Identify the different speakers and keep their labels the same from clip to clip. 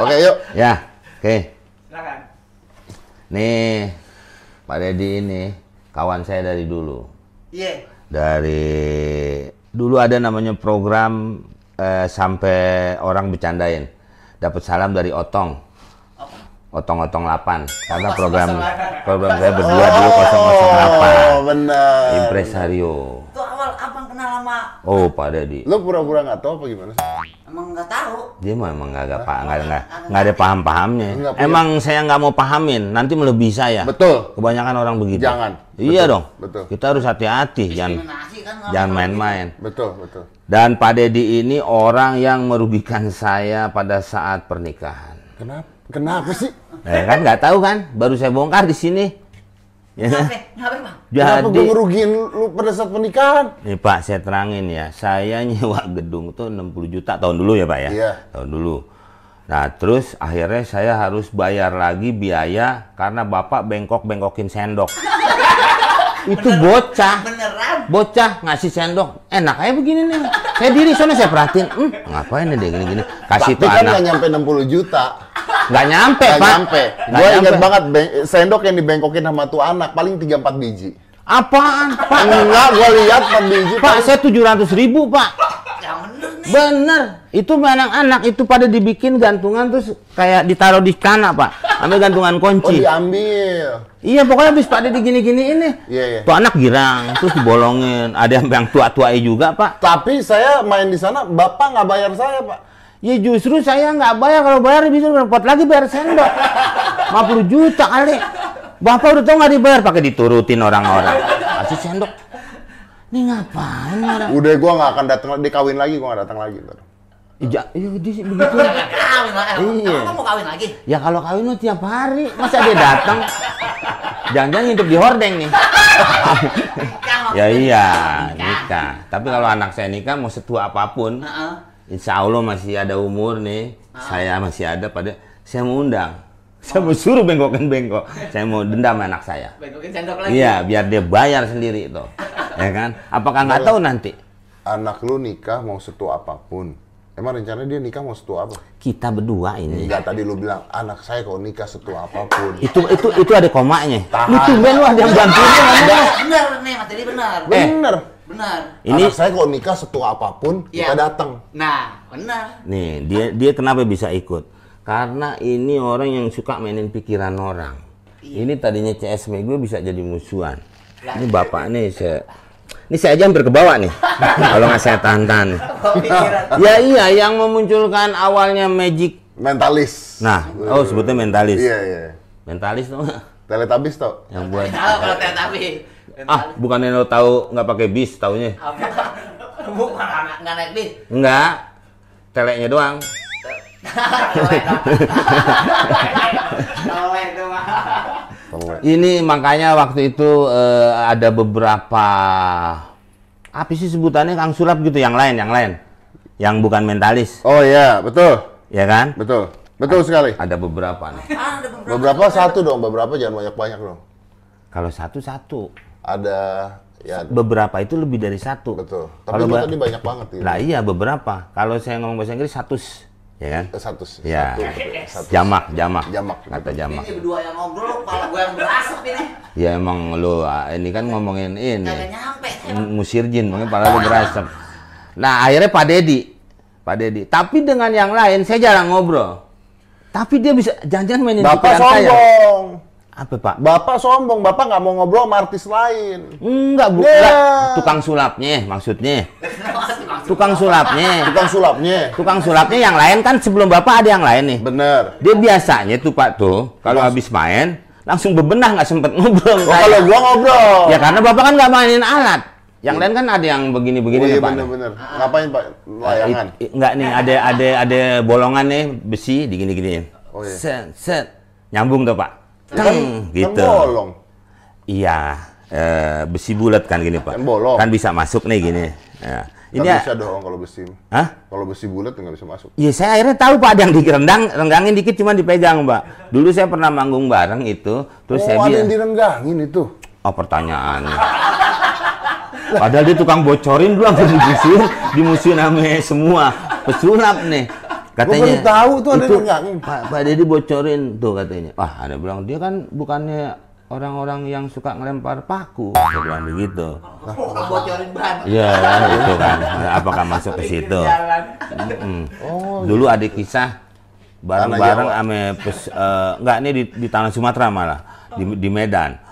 Speaker 1: Oke yuk.
Speaker 2: Ya, oke.
Speaker 3: Silakan.
Speaker 2: Nih, Pak Deddy ini kawan saya dari dulu.
Speaker 3: Iya.
Speaker 2: Dari dulu ada namanya program eh, sampai orang bercandain. Dapat salam dari Otong. Otong-otong 8. Karena program program
Speaker 1: Oh.
Speaker 2: saya berdua dulu 008.
Speaker 1: benar.
Speaker 2: Impresario.
Speaker 3: Itu awal abang kenal sama
Speaker 2: Oh, Pak Deddy.
Speaker 1: Lu pura-pura nggak tahu apa gimana? sih?
Speaker 3: emang nggak tahu.
Speaker 2: Dia mah emang nggak nggak pa- nggak nggak nggak ada paham pahamnya.
Speaker 1: Nggak punya.
Speaker 2: Emang saya nggak mau pahamin, nanti melebihi saya.
Speaker 1: Betul.
Speaker 2: Kebanyakan orang begitu.
Speaker 1: Jangan.
Speaker 2: Iya
Speaker 1: Betul,
Speaker 2: dong.
Speaker 1: betul.
Speaker 2: Kita harus hati-hati, jangan
Speaker 3: Diskriminasi kan kalau
Speaker 2: jangan
Speaker 3: kalau
Speaker 2: main-main.
Speaker 1: Betul, betul.
Speaker 2: Dan Pak Deddy ini orang yang merugikan saya pada saat pernikahan.
Speaker 1: Kenapa? Kenapa sih?
Speaker 2: Ya kan nggak tahu kan? Baru saya bongkar di sini.
Speaker 3: gitu.
Speaker 2: Ya.
Speaker 3: Ngapain? Ngapain bang?
Speaker 1: Kenapa gue
Speaker 2: Jadi,
Speaker 1: ngerugiin lu pada saat pernikahan?
Speaker 2: nih Pak, saya terangin ya. Saya nyewa gedung tuh 60 juta tahun dulu ya Pak ya.
Speaker 1: Iya.
Speaker 2: Tahun dulu. Nah, terus akhirnya saya harus bayar lagi biaya karena Bapak bengkok-bengkokin sendok. Itu bocah.
Speaker 3: Beneran?
Speaker 2: bocah ngasih sendok enak aja begini nih saya diri sana saya perhatiin hmm, ngapain nih dia gini-gini kasih
Speaker 1: Tapi
Speaker 2: tuh
Speaker 1: kan nggak
Speaker 2: anak
Speaker 1: nyampe 60 juta.
Speaker 2: nggak nyampe
Speaker 1: Eh, Nggak
Speaker 2: pak
Speaker 1: nyampe.
Speaker 2: Nggak
Speaker 1: Gue inget
Speaker 2: nyampe.
Speaker 1: banget beng- sendok yang dibengkokin sama tuh anak paling 3-4 biji.
Speaker 2: apaan pak
Speaker 1: Enggak, gue lihat 4 biji.
Speaker 2: pak saya tujuh ratus ribu pak
Speaker 3: Yang Ya, bener nih.
Speaker 2: bener itu anak-anak itu pada dibikin gantungan terus kayak ditaruh di kanak pak ambil gantungan
Speaker 1: Oh
Speaker 2: kunci
Speaker 1: diambil.
Speaker 2: iya pokoknya habis pak Deddy gini-gini ini
Speaker 1: Iya, iya.
Speaker 2: tuh anak girang terus dibolongin ada yang yang tua-tua juga pak
Speaker 1: Tapi saya main di sana, bapak nggak bayar saya pak.
Speaker 2: Ya justru saya nggak bayar kalau bayar bisa repot lagi bayar sendok. 50 juta kali. Bapak udah tau nggak dibayar pakai diturutin orang-orang. Kasih sendok. Ini ngapain orang?
Speaker 1: Udah gue nggak akan datang, dikawin lagi gue nggak datang lagi. ntar.
Speaker 2: Ya, ya, di- begitu.
Speaker 3: Kawin lah. Emang
Speaker 2: Iya.
Speaker 3: emang mau kawin lagi?
Speaker 2: Ya kalau kawin lo tiap hari masa dia datang. Jangan-jangan hidup di hordeng nih.
Speaker 3: Nikah maksudnya.
Speaker 2: Ya iya
Speaker 3: Nikah.
Speaker 2: nikah. Tapi kalau anak saya nikah mau setua apapun,
Speaker 3: Heeh.
Speaker 2: Insya Allah masih ada umur nih. Saya masih ada pada saya mau undang. Saya mau suruh bengkokin bengkok. Saya mau dendam anak saya.
Speaker 3: Bentukin sendok lagi.
Speaker 2: Iya, biar dia bayar sendiri itu. ya kan? Apakah nggak tahu nanti
Speaker 1: Anak lu nikah mau setua apapun. Emang rencananya dia nikah mau setua apa?
Speaker 2: kita berdua ini.
Speaker 1: Enggak tadi lu bilang anak saya kalau nikah
Speaker 2: Iya.
Speaker 1: setua apapun.
Speaker 2: Itu itu itu ada komanya.
Speaker 1: Tahan.
Speaker 2: Lu tumben lu ada yang bantuin.
Speaker 3: Bener, bener nih Mas Dedi bener.
Speaker 2: Iya. Eh.
Speaker 1: Bener.
Speaker 3: Bener.
Speaker 2: Ini
Speaker 1: Anak saya kalau nikah setua apapun
Speaker 3: Iya.
Speaker 1: kita datang.
Speaker 3: Nah, bener.
Speaker 2: nih dia dia kenapa bisa ikut? Karena ini orang yang suka mainin pikiran orang. Ini tadinya CSM gue bisa jadi musuhan. Ini bapak nih saya ini saya aja hampir ke bawah nih. Kalau nggak saya tahan-tahan. nih.
Speaker 3: Kok pikiran?
Speaker 2: Ya iya yang memunculkan awalnya magic.
Speaker 1: Mentalis.
Speaker 2: Nah, oh sebetulnya mentalis.
Speaker 1: Iya iya.
Speaker 2: Mentalis tuh
Speaker 1: Teletabis tau.
Speaker 2: yang buat
Speaker 3: Tahu kalau teh tapi.
Speaker 2: ah bukannya lo tahu nggak pakai bis taunya
Speaker 3: Apa? Bukan anak nggak naik bis.
Speaker 2: enggak teleknya doang
Speaker 3: Tolong itu mah.
Speaker 1: Tele.
Speaker 2: ini makanya waktu itu eh, ada beberapa apa sih sebutannya kang sulap gitu yang lain yang lain yang bukan mentalis
Speaker 1: Oh iya, betul.
Speaker 2: ya kan
Speaker 1: Betul. Betul sekali.
Speaker 2: ada beberapa nih
Speaker 3: Ada beberapa.
Speaker 1: Beberapa satu dong, beberapa jangan banyak-banyak dong.
Speaker 2: kalau satu satu
Speaker 1: Ada ya
Speaker 2: beberapa itu lebih dari satu
Speaker 1: betul. Tapi
Speaker 2: kalau
Speaker 1: lu
Speaker 2: ba-
Speaker 1: tadi banyak banget gitu.
Speaker 2: lah iya beberapa kalau saya ngomong bahasa Inggris satu ya kan
Speaker 1: Eh, Satu sih.
Speaker 2: Ya.
Speaker 1: Satu, betul. Satu.
Speaker 2: jamak jamak
Speaker 1: Jamak.
Speaker 2: kata jamak
Speaker 3: Ini berdua yang ngobrol, kalau gue yang berasap ini.
Speaker 2: ya emang lo ini kan ngomongin
Speaker 3: Kagak
Speaker 2: ini
Speaker 3: nyampe.
Speaker 2: musir jin makanya pala lu berasap nah akhirnya Pak Dedi Pak Dedi tapi dengan yang lain saya jarang ngobrol tapi dia bisa jangan-jangan mainin
Speaker 1: Bapak
Speaker 2: pikiran saya.
Speaker 1: sombong.
Speaker 2: apa Pak
Speaker 1: Bapak sombong, Bapak nggak mau ngobrol sama artis lain.
Speaker 2: enggak bu
Speaker 1: Ya.
Speaker 2: enggak. tukang sulapnya maksudnya tukang sulapnya
Speaker 1: Tukang sulapnya.
Speaker 2: tukang sulapnya yang lain kan sebelum Bapak ada yang lain nih
Speaker 1: Bener.
Speaker 2: dia biasanya tuh Pak tuh kalau habis main langsung bebenah nggak sempet ngobrol
Speaker 1: Oh, kalau gua ngobrol. Iya,
Speaker 2: Ya karena bapak kan nggak mainin alat. Yang lain kan ada yang
Speaker 1: Oh,
Speaker 2: begini-begini
Speaker 1: iya
Speaker 2: nih pak.
Speaker 1: bener-bener. Ngapain Pak? Layangan.
Speaker 2: It- it- Nggak nih ada ada ada bolongan nih besi digini-giniin.
Speaker 1: Oh, iya.
Speaker 2: Set set nyambung tuh pak.
Speaker 1: Kan,
Speaker 2: Ceng
Speaker 1: kan
Speaker 2: gitu.
Speaker 1: bolong.
Speaker 2: Iya eh, besi bulat kan gini pak.
Speaker 1: Kan bolong.
Speaker 2: Kan bisa masuk nih gini. Ya.
Speaker 1: Ini
Speaker 2: Ini ya,
Speaker 1: bisa dong kalau besi.
Speaker 2: Hah?
Speaker 1: Kalau besi bulat nggak bisa masuk.
Speaker 2: Iya saya akhirnya tahu pak ada yang direndang renggangin dikit cuma dipegang pak. Dulu saya pernah manggung bareng itu terus saya
Speaker 1: oh, ada
Speaker 2: bilang-
Speaker 1: yang direnggangin itu.
Speaker 2: Oh pertanyaan. Padahal dia tukang bocorin dulu hampir digusur, dimusuhin sama semua pesulap nih. Katanya
Speaker 1: baru tahu tuh ada yang nggak-
Speaker 2: Pak, Pak Deddy bocorin tuh katanya. Wah, ada bilang dia kan bukannya orang-orang yang suka ngelempar paku. Dia bilang begitu.
Speaker 3: Kalau bocorin ban.
Speaker 2: Iya kan itu kan. Apakah masuk ke
Speaker 3: Bikin
Speaker 2: situ?
Speaker 3: jalan.
Speaker 2: Mm.
Speaker 1: Oh,
Speaker 2: Dulu ada kisah bareng-bareng ame pes, eh, enggak ini di, di tanah Sumatera malah di, di Medan.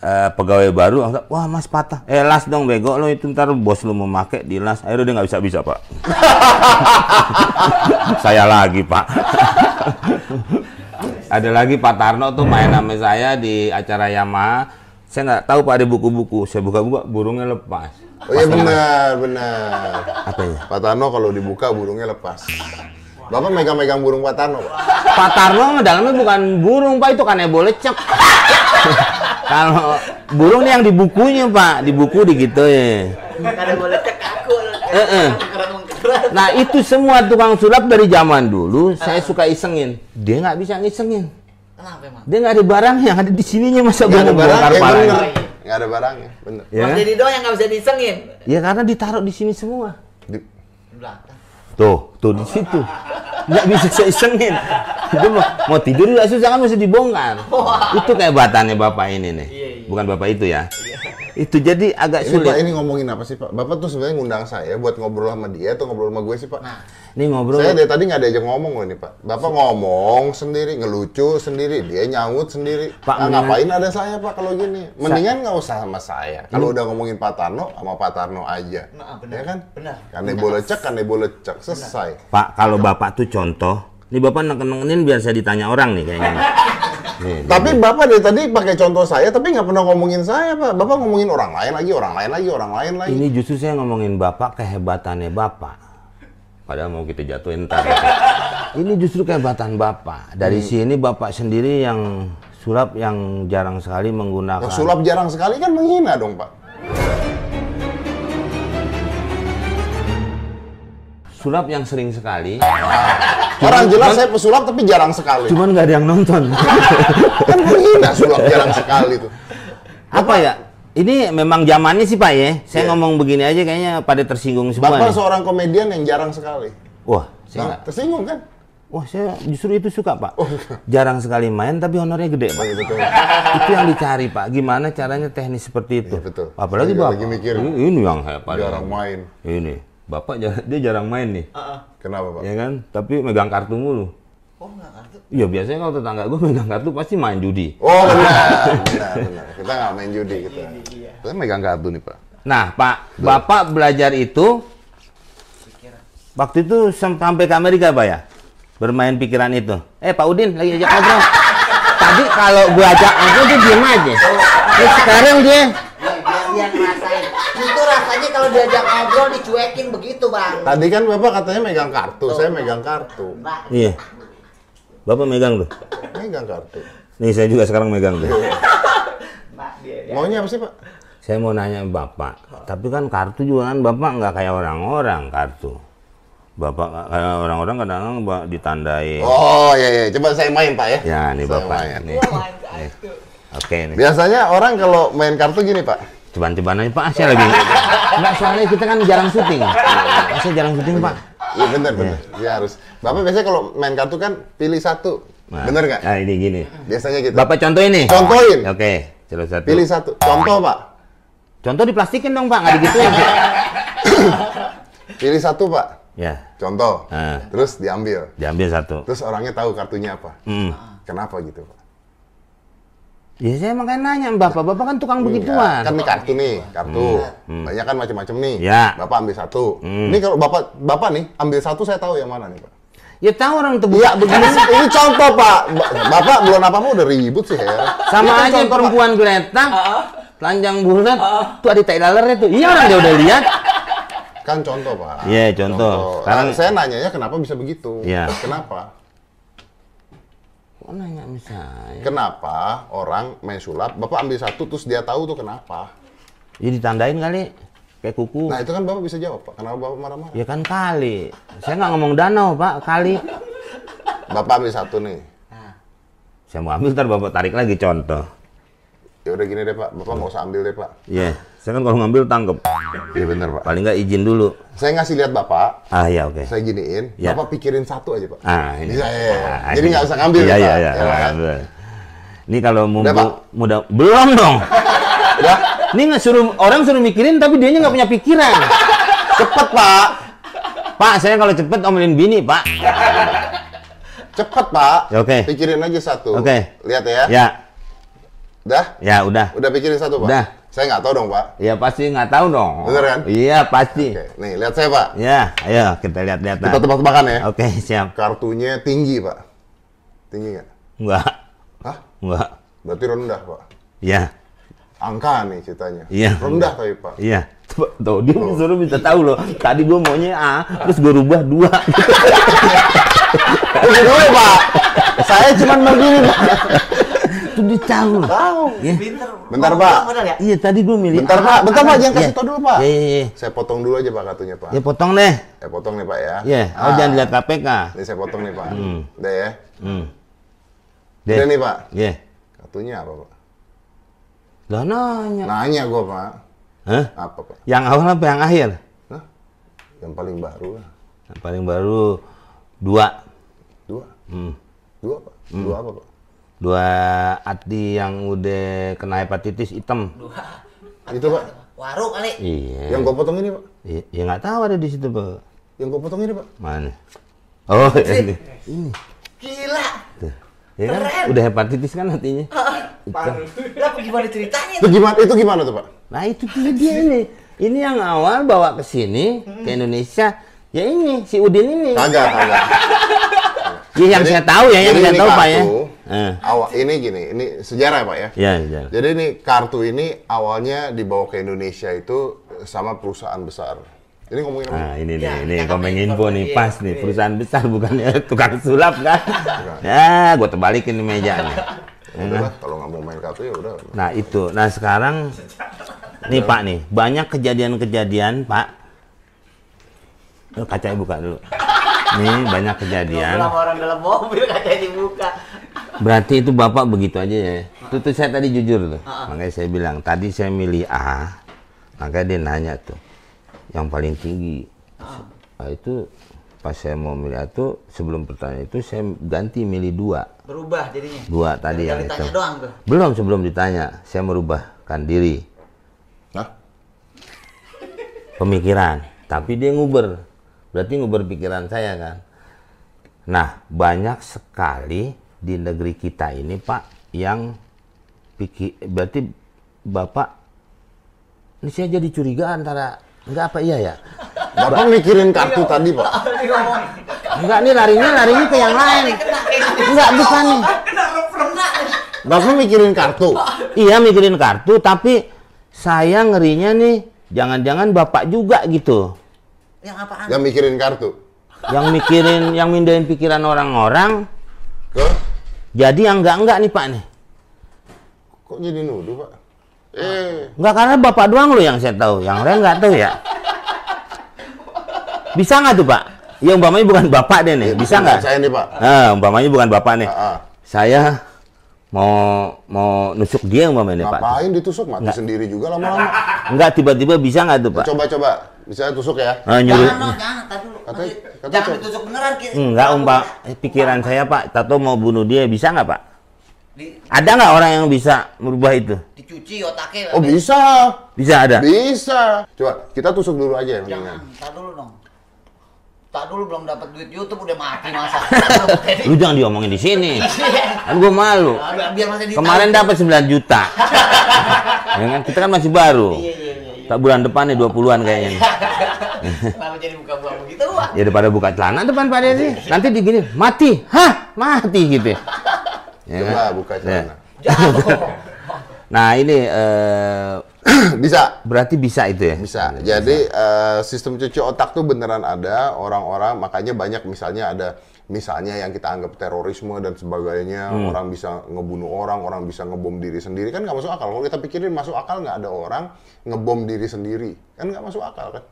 Speaker 2: Eh, pegawai baru langsung, wah mas patah eh las dong bego lo itu ntar bos lo memakai di las akhirnya dia nggak bisa bisa pak saya lagi pak ada lagi Pak Tarno tuh main sama saya di acara Yamaha saya nggak tahu pak ada buku-buku saya buka-buka burungnya lepas
Speaker 1: Oh iya benar, benar.
Speaker 2: apa ya
Speaker 1: Pak Tano kalau dibuka burungnya lepas. Bapak megang-megang burung Pak Tano, Pak.
Speaker 2: Pak Tarno mah dalamnya bukan burung pak itu kan ebolecek kalau burung nih yang di bukunya pak di buku digituin
Speaker 3: Kada boleh cek aku.
Speaker 2: Heeh.
Speaker 3: Keren-keren.
Speaker 2: nah itu semua tukang sulap dari zaman dulu
Speaker 1: Ah.
Speaker 2: saya suka isengin dia nggak bisa ngisengin
Speaker 3: Kenapa emang?
Speaker 2: dia nggak ada barang yang ada di sininya masa
Speaker 1: Nggak
Speaker 2: gue
Speaker 1: ada
Speaker 2: mau
Speaker 1: barang,
Speaker 2: bongkar
Speaker 1: ya
Speaker 2: parahnya?
Speaker 1: bener. Nggak ada barangnya, bener.
Speaker 2: ya
Speaker 3: Mas
Speaker 2: kan?
Speaker 3: Deddy doang yang nggak bisa disengin.
Speaker 2: ya karena ditaruh di sini semua
Speaker 1: Di-
Speaker 3: Di Belakang.
Speaker 2: Tuh, tuh di situ. Nggak bisa saya isengin. Itu mau, mau tidur juga susah kan mesti dibongkar. Itu kehebatannya bapak ini nih.
Speaker 3: Iya, iya.
Speaker 2: Bukan bapak itu ya. Itu jadi
Speaker 1: Ini
Speaker 2: agak
Speaker 1: Pak,
Speaker 2: sulit.
Speaker 1: ini ngomongin apa sih Pak? Bapak tuh sebenarnya ngundang saya buat ngobrol sama dia atau ngobrol sama gue sih Pak?
Speaker 3: Nah,
Speaker 2: Ini ngobrol.
Speaker 1: Saya dari tadi nggak diajak ngomong loh ini Pak. Bapak ngomong sendiri, ngelucu sendiri, dia nyaut sendiri.
Speaker 2: Pak,
Speaker 1: Nah,
Speaker 2: mendingan-
Speaker 1: ngapain ada saya Pak kalau gini? Mendingan nggak usah sama saya. Kalau udah ngomongin Pak Tarno, sama Pak Tarno aja.
Speaker 3: Hmm. Nah, benar.
Speaker 1: Ya kan?
Speaker 3: Benar.
Speaker 1: Kane bolecek, kane bolecek, selesai.
Speaker 2: Pak, kalau bapak tuh contoh. Ini bapak neken-nekenin biar saya ditanya orang nih kayaknya. nih. Nih, nih.
Speaker 1: Tapi Bapak dari tadi pakai contoh saya, tapi nggak pernah ngomongin saya Pak. Bapak ngomongin orang lain lagi, orang lain lagi, orang lain lagi.
Speaker 2: ini justru saya ngomongin bapak kehebatannya bapak. Padahal mau kita jatuhin ntar. ya, ini justru kehebatan bapak. Dari
Speaker 1: Hmm.
Speaker 2: sini bapak sendiri yang sulap yang jarang sekali menggunakan.
Speaker 1: Yang sulap jarang sekali kan menghina dong Pak.
Speaker 2: sulap yang sering sekali
Speaker 1: Orang jelas saya pesulap tapi jarang sekali.
Speaker 2: cuman nggak ada yang nonton
Speaker 1: Kan menghina sulap jarang sekali tuh.
Speaker 2: apa ya ini memang zamannya sih pak ya saya ngomong begini aja kayaknya pada tersinggung semua
Speaker 1: Bapak
Speaker 2: nih.
Speaker 1: seorang komedian yang jarang sekali.
Speaker 2: wah saya
Speaker 1: Nah,
Speaker 2: nggak-
Speaker 1: tersinggung kan?
Speaker 2: wah saya justru itu suka pak jarang sekali main tapi honornya gede
Speaker 1: Nah,
Speaker 2: pak
Speaker 1: gitu
Speaker 2: itu yang dicari pak gimana caranya teknis seperti itu
Speaker 1: Iya, betul.
Speaker 2: apalagi
Speaker 1: Saya juga
Speaker 2: bapak
Speaker 1: lagi mikir.
Speaker 2: ini, ini yang hebat
Speaker 1: Jarang main.
Speaker 2: ini bapak jar- dia jarang main nih
Speaker 1: Kenapa, Pak?
Speaker 2: ya kan tapi megang kartu mulu
Speaker 3: oh nggak kartu.
Speaker 2: Iya biasanya kalau tetangga gue megang kartu pasti main judi.
Speaker 1: Oh, benar. benar, benar. Kita nggak main judi kita. Kita megang kartu nih, Pak.
Speaker 2: Nah, Pak, Bapak belajar itu waktu itu sam- sampai ke Amerika, Pak ya? Bermain pikiran itu. Eh, Pak Udin lagi ajak ngobrol. Tadi kalau gua ajak ngobrol dia diem aja. Terus sekarang dia
Speaker 3: Dia Iya, dia yang ngerasain. Itu rasanya kalau diajak ngobrol dicuekin begitu bang.
Speaker 1: Tadi kan Bapak katanya megang kartu, saya megang kartu.
Speaker 3: Mbak.
Speaker 2: Iya. Bapak megang tuh.
Speaker 1: Megang kartu.
Speaker 2: Nih saya juga sekarang megang tuh.
Speaker 3: Mbak dia. dia.
Speaker 1: Maunya apa sih, Pak?
Speaker 2: Saya mau nanya Bapak, tapi kan kartu juga kan Bapak nggak kayak orang-orang kartu. Bapak nggak kayak orang-orang kadang-kadang Bapak ditandain.
Speaker 1: Oh, iya iya, coba saya main, Pak ya.
Speaker 2: Ya, nih
Speaker 1: Saya
Speaker 2: Bapak.
Speaker 1: main.
Speaker 2: Nih. Nih. Oke, nih.
Speaker 1: Biasanya orang kalau main kartu gini, Pak.
Speaker 2: Ceban-ceban aja Pak, saya lagi Enggak, soalnya kita kan jarang syuting Saya jarang syuting Pak
Speaker 1: Iya benar benar. Dia harus. Bapak biasanya kalau main kartu kan pilih satu.
Speaker 2: Nah,
Speaker 1: Bener nggak?
Speaker 2: Nah ini gini
Speaker 1: Biasanya gitu.
Speaker 2: Bapak contoh ini
Speaker 1: Contohin.
Speaker 2: Oke, contoh satu
Speaker 1: Pilih satu. Contoh, Pak.
Speaker 2: Contoh diplastikin dong Pak, nggak digituin
Speaker 1: Pilih satu, Pak.
Speaker 2: Ya,
Speaker 1: Contoh.
Speaker 2: Ah.
Speaker 1: Terus diambil.
Speaker 2: diambil satu
Speaker 1: Terus orangnya tahu kartunya apa.
Speaker 2: Hmm.
Speaker 1: Kenapa gitu, Pak?
Speaker 2: Ya saya makanya nanya sama Bapak, Bapak kan tukang
Speaker 1: Enggak,
Speaker 2: begituan
Speaker 1: Kan ini kartu nih, kartu. Banyak kan macam-macam nih.
Speaker 2: Hmm. Ya. Hmm.
Speaker 1: Bapak ambil satu. Ini kalau Bapak Bapak nih ambil satu saya tahu yang mana nih, Pak.
Speaker 2: Ya tahu orang tebu
Speaker 1: Iya, begini sih. Ini contoh, Pak. Ba- Bapak bulan apa mau udah ribut sih ya.
Speaker 2: Sama aja perempuan geletak Telanjang bulat Tuh ada tai lalernya tuh Iya orang dia udah lihat
Speaker 1: Kan contoh, Pak.
Speaker 2: Iya, contoh. Sekarang-
Speaker 1: Nah, saya nanyanya kenapa bisa begitu?
Speaker 2: Iya.
Speaker 1: Kenapa?
Speaker 2: Kok nanya misalnya
Speaker 1: Kenapa orang main sulap, Bapak ambil satu terus dia tahu tuh kenapa?
Speaker 2: Ya ditandain kali Kayak kuku
Speaker 1: Nah, itu kan Bapak bisa jawab, Pak. Kenapa Bapak marah-marah?
Speaker 2: Ya kan kali. Saya nggak ngomong danau, Pak. Kali.
Speaker 1: Bapak ambil satu nih.
Speaker 3: Nah.
Speaker 2: Saya mau ambil ntar Bapak tarik lagi contoh.
Speaker 1: ya udah gini deh pak, bapak nggak usah ambil deh pak.
Speaker 2: Iya. Saya kan kalau ngambil tangkep.
Speaker 1: Iya bener pak.
Speaker 2: Paling nggak izin dulu.
Speaker 1: Saya ngasih lihat bapak,
Speaker 2: Ah ya oke.
Speaker 1: saya giniin,
Speaker 2: Ya.
Speaker 1: bapak pikirin satu aja pak.
Speaker 2: Ah ini.
Speaker 1: Bisa, ya, ya.
Speaker 2: Ah,
Speaker 1: Jadi
Speaker 2: ini.
Speaker 1: nggak usah ngambil,
Speaker 2: Iya
Speaker 1: Pak.
Speaker 2: iya iya.
Speaker 1: Ya,
Speaker 2: nggak
Speaker 1: kan?
Speaker 2: ngambil. Ini kalau mau
Speaker 1: Udah, Pak?
Speaker 2: muda belum dong.
Speaker 1: Udah,
Speaker 2: Ini nggak suruh orang suruh mikirin tapi dianya nggak punya pikiran.
Speaker 1: cepet pak,
Speaker 2: Pak saya kalau cepet omelin bini pak.
Speaker 1: cepet pak.
Speaker 2: Ya, oke.
Speaker 1: Pikirin aja satu.
Speaker 2: Oke.
Speaker 1: Lihat ya.
Speaker 2: Ya
Speaker 1: Udah,
Speaker 2: ya udah.
Speaker 1: udah pikirin satu pak.
Speaker 2: Udah.
Speaker 1: Saya nggak tahu dong pak.
Speaker 2: Ya pasti nggak tahu dong.
Speaker 1: Bener kan?
Speaker 2: Iya pasti.
Speaker 1: Oke, nih lihat saya pak.
Speaker 2: Ya ayo kita lihat-lihat.
Speaker 1: Kita
Speaker 2: Pak.
Speaker 1: tebak-tebakan ya.
Speaker 2: Nah. Oke siap.
Speaker 1: Kartunya tinggi pak. Tinggi nggak?
Speaker 2: Nggak
Speaker 1: Hah?
Speaker 2: nggak.
Speaker 1: Berarti rendah pak.
Speaker 2: Ya
Speaker 1: Angka nih ceritanya.
Speaker 2: Iya.
Speaker 1: Rendah tapi pak.
Speaker 2: Iya. Tuh, tuh, dia disuruh bisa tahu loh. Tadi gue maunya A, terus gue rubah dua.
Speaker 1: Tunggu dulu Iya, pak. Saya cuma mau gini pak.
Speaker 2: Itu dia tahu loh.
Speaker 1: Tahu.
Speaker 3: Pinter.
Speaker 1: Bentar,
Speaker 3: Ngomong
Speaker 1: Pak.
Speaker 3: doang bener ya?
Speaker 2: Iya tadi gue milih.
Speaker 1: Bentar
Speaker 2: A.
Speaker 1: pak, bentar pak, jangan
Speaker 2: Iya.
Speaker 1: kasih tau dulu pak.
Speaker 2: Iya iya iya.
Speaker 1: Saya potong dulu aja pak kartunya pak.
Speaker 2: Ya potong deh.
Speaker 1: Saya potong nih pak ya.
Speaker 2: Iya. Oh
Speaker 1: Ah,
Speaker 2: jangan lihat KPK.
Speaker 1: Ini saya potong nih pak. Udah ya.
Speaker 2: Hmm. Deh.
Speaker 1: Udah nih pak.
Speaker 2: Iya.
Speaker 1: Kartunya apa pak?
Speaker 2: Lah nanya.
Speaker 1: Nanya gua pak.
Speaker 2: Hah?
Speaker 1: Apa pak?
Speaker 2: Yang awal apa yang akhir?
Speaker 1: Hah? Yang paling baru lah.
Speaker 2: Yang paling baru dua. Hmm.
Speaker 1: Dua. Dua pak. Dua apa pak?
Speaker 2: Dua ati yang udah kena hepatitis hitam.
Speaker 1: Itu pak.
Speaker 3: Warung kali.
Speaker 2: Iya.
Speaker 1: Yang gua potong ini pak.
Speaker 2: Iya, ya nggak tahu ada di situ pak.
Speaker 1: Yang gua potong ini pak.
Speaker 2: Mana? Oh, ini. Ini.
Speaker 3: Gila.
Speaker 2: Tuh. Ya kan?
Speaker 3: Keren.
Speaker 2: Udah hepatitis kan hatinya.
Speaker 3: Lah gimana ceritanya?
Speaker 1: Itu gimana? Itu gimana tuh pak?
Speaker 2: Nah, itu dia, dia ini. Ini yang awal bawa ke sini ke Indonesia. Ya ini si Udin ini.
Speaker 1: Kagak, kagak.
Speaker 2: Ya, yang
Speaker 1: Ah, Jadi-
Speaker 2: saya tahu ya, yang
Speaker 1: jadi
Speaker 2: saya
Speaker 1: ini
Speaker 2: tahu Pak ya.
Speaker 1: kartu,
Speaker 2: Eh.
Speaker 1: Awal ini gini, ini sejarah ya, Pak ya.
Speaker 2: Ya, ya.
Speaker 1: Jadi ini kartu ini awalnya dibawa ke Indonesia itu sama perusahaan besar. Ini ngomongin apa?
Speaker 2: Nah, ini nih,
Speaker 3: Ya,
Speaker 2: ini
Speaker 3: ya,
Speaker 2: komeng
Speaker 3: tapi-
Speaker 2: info nih
Speaker 3: iya,
Speaker 2: pas nih
Speaker 3: iya.
Speaker 2: perusahaan besar bukannya tukang sulap kan. ya, gua terbalikin di meja nih.
Speaker 1: Ya udah lah, kalau nggak mau main kartu ya udah.
Speaker 2: Nah, itu. Nah, sekarang nih Pak nih, banyak kejadian-kejadian, Pak. Eh, Kacanya buka dulu. Nih, banyak kejadian.
Speaker 3: Ngobrol sama orang dalam mobil katanya dibuka.
Speaker 2: Berarti itu bapak begitu aja ya? Itu tuh saya tadi jujur tuh. Makanya saya bilang, tadi saya milih A, makanya dia nanya tuh, yang paling tinggi. Nah, itu pas saya mau milih A tuh, sebelum pertanyaan itu saya ganti milih dua.
Speaker 3: Berubah jadinya.
Speaker 2: Dua tadi yang
Speaker 3: Tinggal
Speaker 2: itu.
Speaker 3: ditanya doang tuh.
Speaker 2: Belum sebelum ditanya, saya merubahkan diri,
Speaker 1: Nah,
Speaker 2: pemikiran. Tapi dia nguber, berarti nguber pikiran saya kan. Nah, banyak sekali di negeri kita ini, Pak, yang pikir berarti Bapak ini saya jadi curiga antara enggak apa iya ya?
Speaker 1: Bapak mikirin kartu tadi, Pak.
Speaker 3: Dia ngomong.
Speaker 2: Enggak nih larinya larinya ke yang lain. Enggak bukan nih.
Speaker 1: Bapak mikirin kartu.
Speaker 2: Iya mikirin kartu tapi saya ngerinya nih jangan-jangan Bapak juga gitu.
Speaker 3: Yang apaan?
Speaker 1: Yang mikirin kartu.
Speaker 2: Yang mikirin yang mindahin pikiran orang-orang
Speaker 1: Ke?
Speaker 2: jadi yang enggak-enggak nih Pak nih.
Speaker 1: Kok jadi nuduh, Pak? Eh,
Speaker 2: Enggak karena bapak doang lo yang saya tahu, yang lain nggak tahu ya. Bisa nggak tuh pak? Ya umpamanya bukan bapak deh nih, bisa nggak?
Speaker 1: Saya nih, Pak.
Speaker 2: Nah, umpamanya bukan bapak nih.
Speaker 1: Ah, ah.
Speaker 2: Saya mau mau nusuk dia umpamanya nih, Iya, pak.
Speaker 1: Ngapain ditusuk mati sendiri juga lama-lama?
Speaker 2: Enggak tiba-tiba bisa nggak tuh pak?
Speaker 1: Coba-coba, bisa tusuk ya.
Speaker 2: Ah, nyuruh.
Speaker 3: Jangan dong, jangan. Tadi dulu.
Speaker 1: Kata-
Speaker 3: Nanti
Speaker 1: kata
Speaker 3: Jangan
Speaker 1: cewek.
Speaker 3: ditusuk beneran. Ki.
Speaker 2: Enggak umpam eh, pikiran saya pak, tato mau bunuh dia bisa nggak pak?
Speaker 3: Di-
Speaker 2: Ada nggak orang yang bisa merubah itu?
Speaker 3: Dicuci otaknya.
Speaker 1: Oh, bisa.
Speaker 2: Bisa ada.
Speaker 1: Bisa. Coba kita tusuk dulu aja ya.
Speaker 3: Jangan,
Speaker 1: mendingan.
Speaker 3: tak dulu dong. Tak dulu belum dapat duit YouTube udah mati masa.
Speaker 2: Lu jangan diomongin di sini. Kan gue malu.
Speaker 3: Biar- Biar masa ditahu.
Speaker 2: Kemarin dapat 9 juta. ya kan? Kita kan masih baru.
Speaker 3: Iya iya iya. iya.
Speaker 2: Tak bulan depan nih 20-an kayaknya. nih.
Speaker 3: Kenapa jadi buka-buka begitu, Wak?
Speaker 2: Ya daripada buka celana depan Pak Dedi. Nanti digini, mati. Hah? Mati gitu. Ya kan?
Speaker 1: Coba buka celana.
Speaker 3: Jatuh.
Speaker 2: Nah, ini eh,
Speaker 1: Bisa.
Speaker 2: berarti bisa itu ya?
Speaker 1: Bisa. Jadi eh, sistem cuci otak tuh beneran ada orang-orang makanya banyak misalnya ada misalnya yang kita anggap terorisme dan sebagainya orang bisa ngebunuh orang orang bisa ngebom diri sendiri kan nggak masuk akal kalau kita pikirin masuk akal nggak ada orang ngebom diri sendiri kan nggak masuk akal kan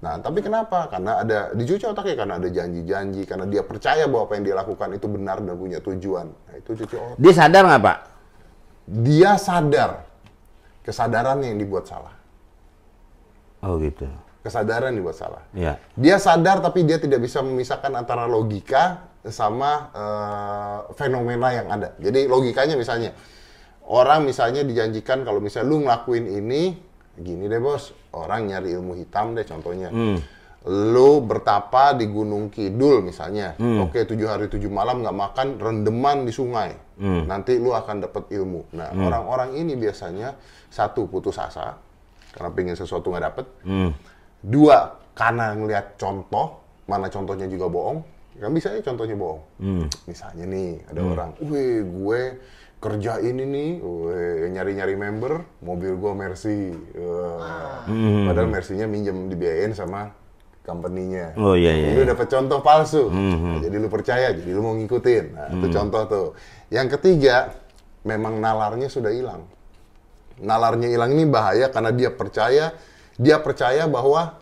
Speaker 1: Nah, tapi kenapa? Karena ada dicuci otaknya karena ada janji-janji, karena dia percaya bahwa apa yang dia lakukan itu benar dan punya tujuan. Nah, itu cuci otak.
Speaker 2: Dia sadar nggak Pak?
Speaker 1: dia sadar kesadarannya yang dibuat salah.
Speaker 2: Oh gitu.
Speaker 1: Kesadaran yang dibuat salah.
Speaker 2: Ya.
Speaker 1: Dia sadar tapi dia tidak bisa memisahkan antara logika sama eh, fenomena yang ada. Jadi logikanya misalnya orang misalnya dijanjikan kalau misalnya lu ngelakuin ini gini deh bos, orang nyari ilmu hitam deh contohnya. Lu bertapa di Gunung Kidul misalnya, oke tujuh hari tujuh malam nggak makan rendeman di sungai, nanti lu akan dapat ilmu. Nah orang-orang ini biasanya satu putus asa karena pengen sesuatu nggak dapet,
Speaker 2: Hmm.
Speaker 1: dua karena ngelihat contoh mana contohnya juga bohong kan bisa aja contohnya bohong
Speaker 2: Hmm.
Speaker 1: misalnya nih ada orang weh gue kerja ini nih weh, nyari-nyari member mobil gue Mercy Wah.
Speaker 2: Hmm.
Speaker 1: padahal Mercy-nya minjem dibiayain sama company-nya
Speaker 2: Oh, iya, iya, Hmm,
Speaker 1: lu dapat contoh palsu Nah, jadi lu percaya jadi lu mau ngikutin nah, itu contoh tuh yang ketiga memang nalarnya sudah hilang nalarnya hilang ini bahaya karena dia percaya dia percaya bahwa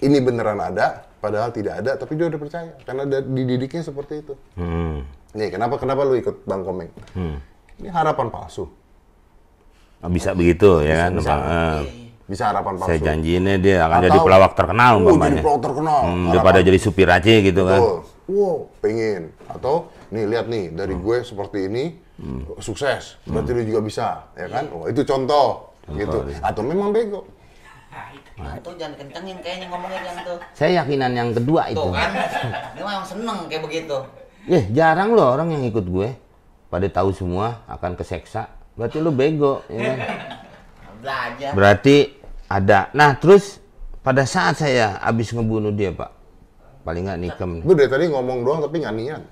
Speaker 1: ini beneran ada padahal tidak ada tapi dia udah percaya karena da- dididiknya seperti itu
Speaker 2: Hmm.
Speaker 1: nih kenapa kenapa lu ikut bang komeng ini harapan palsu
Speaker 2: Bisa begitu ya kan.
Speaker 1: bisa.
Speaker 2: Eh,
Speaker 1: Iya. bisa harapan palsu
Speaker 2: saya janjiinnya dia akan
Speaker 1: Atau-
Speaker 2: jadi pelawak terkenal
Speaker 1: Oh, jadi
Speaker 2: umpamanya.
Speaker 1: pelawak terkenal
Speaker 2: Hmm, daripada
Speaker 1: Harapan-
Speaker 2: jadi supir aja gitu kan.
Speaker 1: Betul. Wow, pengen. Atau nih lihat nih dari
Speaker 2: Hmm.
Speaker 1: gue seperti ini sukses, berarti lu juga bisa, ya
Speaker 2: Hmm.
Speaker 1: kan? Oh, itu contoh, gitu.
Speaker 2: iya.
Speaker 1: Atau memang bego.
Speaker 3: Nah, tuh jangan kencengin kayaknya ngomongnya jangan tuh.
Speaker 2: Saya yakinan yang kedua itu.
Speaker 3: Tuh kan. Dia mah emang seneng kayak begitu.
Speaker 2: Eh, jarang loh orang yang ikut gue. Pada tahu semua akan keseksa. Berarti lu bego. Ya kan?
Speaker 3: Belajar.
Speaker 2: Berarti ada. Nah, terus pada saat saya habis ngebunuh dia, Pak. Paling nggak nikem.
Speaker 1: Gue dari tadi ngomong doang tapi nggak niat.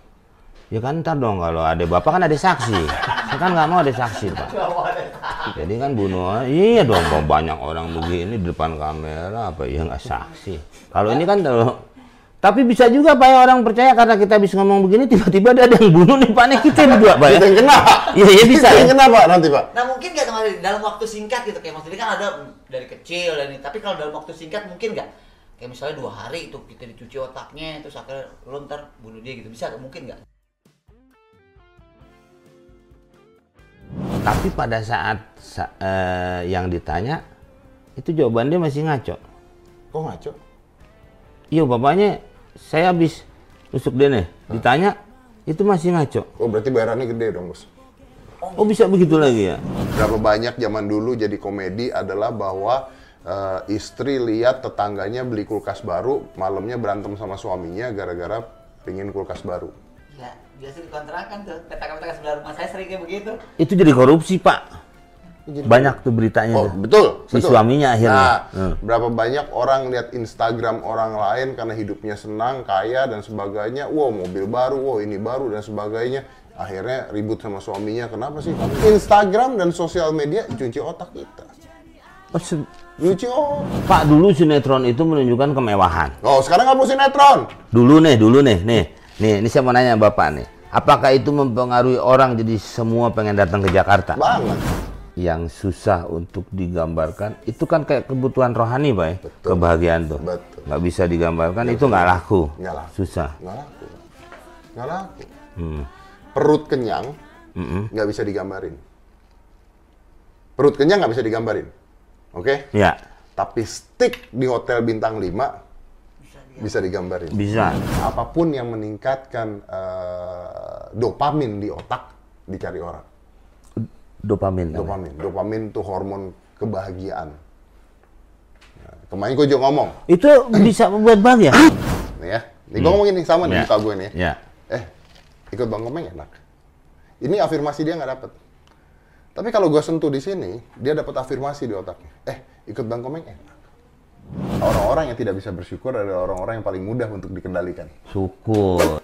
Speaker 2: Ya kan ntar dong kalau ada bapak kan ada saksi. Saya kan nggak mau ada saksi, Pak. Jadi kan bunuh orang- iya dong Pak, banyak orang begini di depan kamera apa ya nggak saksi. Kalau ini kan kalau- tapi bisa juga Pak ya, orang percaya karena kita habis ngomong begini tiba-tiba ada yang bunuh nih Pak Nih, kita berdua Pak ya.
Speaker 1: Kita yang kena.
Speaker 2: Iya iya bisa
Speaker 1: Kita
Speaker 2: ya.
Speaker 1: yang kena, Pak, nanti, Pak.
Speaker 3: Nah mungkin nggak sama dalam waktu singkat gitu kayak maksudnya kan ada dari kecil dan ini. Tapi kalau dalam waktu singkat mungkin nggak kayak misalnya dua hari itu kita dicuci otaknya terus akhirnya lo ntar bunuh dia gitu bisa nggak? mungkin nggak?
Speaker 2: Tapi pada saat sa- eh, yang ditanya itu jawaban dia masih ngaco.
Speaker 1: Kok ngaco?
Speaker 2: Iya bapaknya saya habis nusuk dia nih. Ditanya itu masih ngaco.
Speaker 1: Oh, berarti bayarannya gede dong, Bos.
Speaker 2: Oh bisa begitu lagi ya?
Speaker 1: Berapa banyak zaman dulu jadi komedi adalah bahwa eh, istri lihat tetangganya beli kulkas baru, malamnya berantem sama suaminya gara-gara pingin kulkas baru.
Speaker 3: Gila, Iya, biasa dikontrakan tuh tetangga-tetangga sebelah rumah saya sering kayak begitu.
Speaker 2: Itu jadi korupsi pak. Banyak tuh beritanya.
Speaker 1: Oh,
Speaker 2: tuh.
Speaker 1: betul.
Speaker 2: Gitu. Si
Speaker 1: betul.
Speaker 2: suaminya akhirnya.
Speaker 1: Nah,
Speaker 2: Hmm.
Speaker 1: berapa banyak orang lihat Instagram orang lain karena hidupnya senang, kaya dan sebagainya. Wow, mobil baru, wow ini baru dan sebagainya. Akhirnya ribut sama suaminya. Kenapa sih? Instagram dan sosial media cuci otak kita.
Speaker 2: Oh, se-
Speaker 1: Cuci otak.
Speaker 2: pak dulu sinetron itu menunjukkan kemewahan.
Speaker 1: Oh, sekarang nggak mau sinetron.
Speaker 2: Dulu nih, dulu nih, nih, nih, ini saya mau nanya bapak nih. Apakah itu mempengaruhi orang jadi semua pengen datang ke Jakarta?
Speaker 1: Banget.
Speaker 2: Yang susah untuk digambarkan itu kan kayak kebutuhan rohani pak ya,
Speaker 1: Betul.
Speaker 2: kebahagiaan tuh.
Speaker 1: Betul.
Speaker 2: Nggak bisa digambarkan itu nggak laku.
Speaker 1: Nggak laku.
Speaker 2: Susah.
Speaker 1: Nggak laku. Nggak laku.
Speaker 2: Hmm.
Speaker 1: Perut kenyang nggak bisa digambarin. Perut kenyang nggak bisa digambarin. Oke?
Speaker 2: Ya,
Speaker 1: Tapi stick di hotel bintang 5 bisa digambarin.
Speaker 2: bisa.
Speaker 1: Apapun yang meningkatkan eh, dopamin di otak dicari orang.
Speaker 2: Dopamin. namanya.
Speaker 1: Dopamin, dopamin itu hormon kebahagiaan. Nah, kemarin gue juga ngomong,
Speaker 2: Itu bisa membuat bahagia.
Speaker 1: nih ya. Nih gue ngomongin nih sama nih
Speaker 2: Ya.
Speaker 1: muka gue nih.
Speaker 2: Ya.
Speaker 1: Eh, ikut Bang Komeng enak. Ini afirmasi dia nggak dapet. Tapi kalau gue sentuh di sini, dia dapat afirmasi di otaknya. Eh, ikut Bang Komeng enak. Orang-orang yang tidak bisa bersyukur adalah orang-orang yang paling mudah untuk dikendalikan.
Speaker 2: Syukur.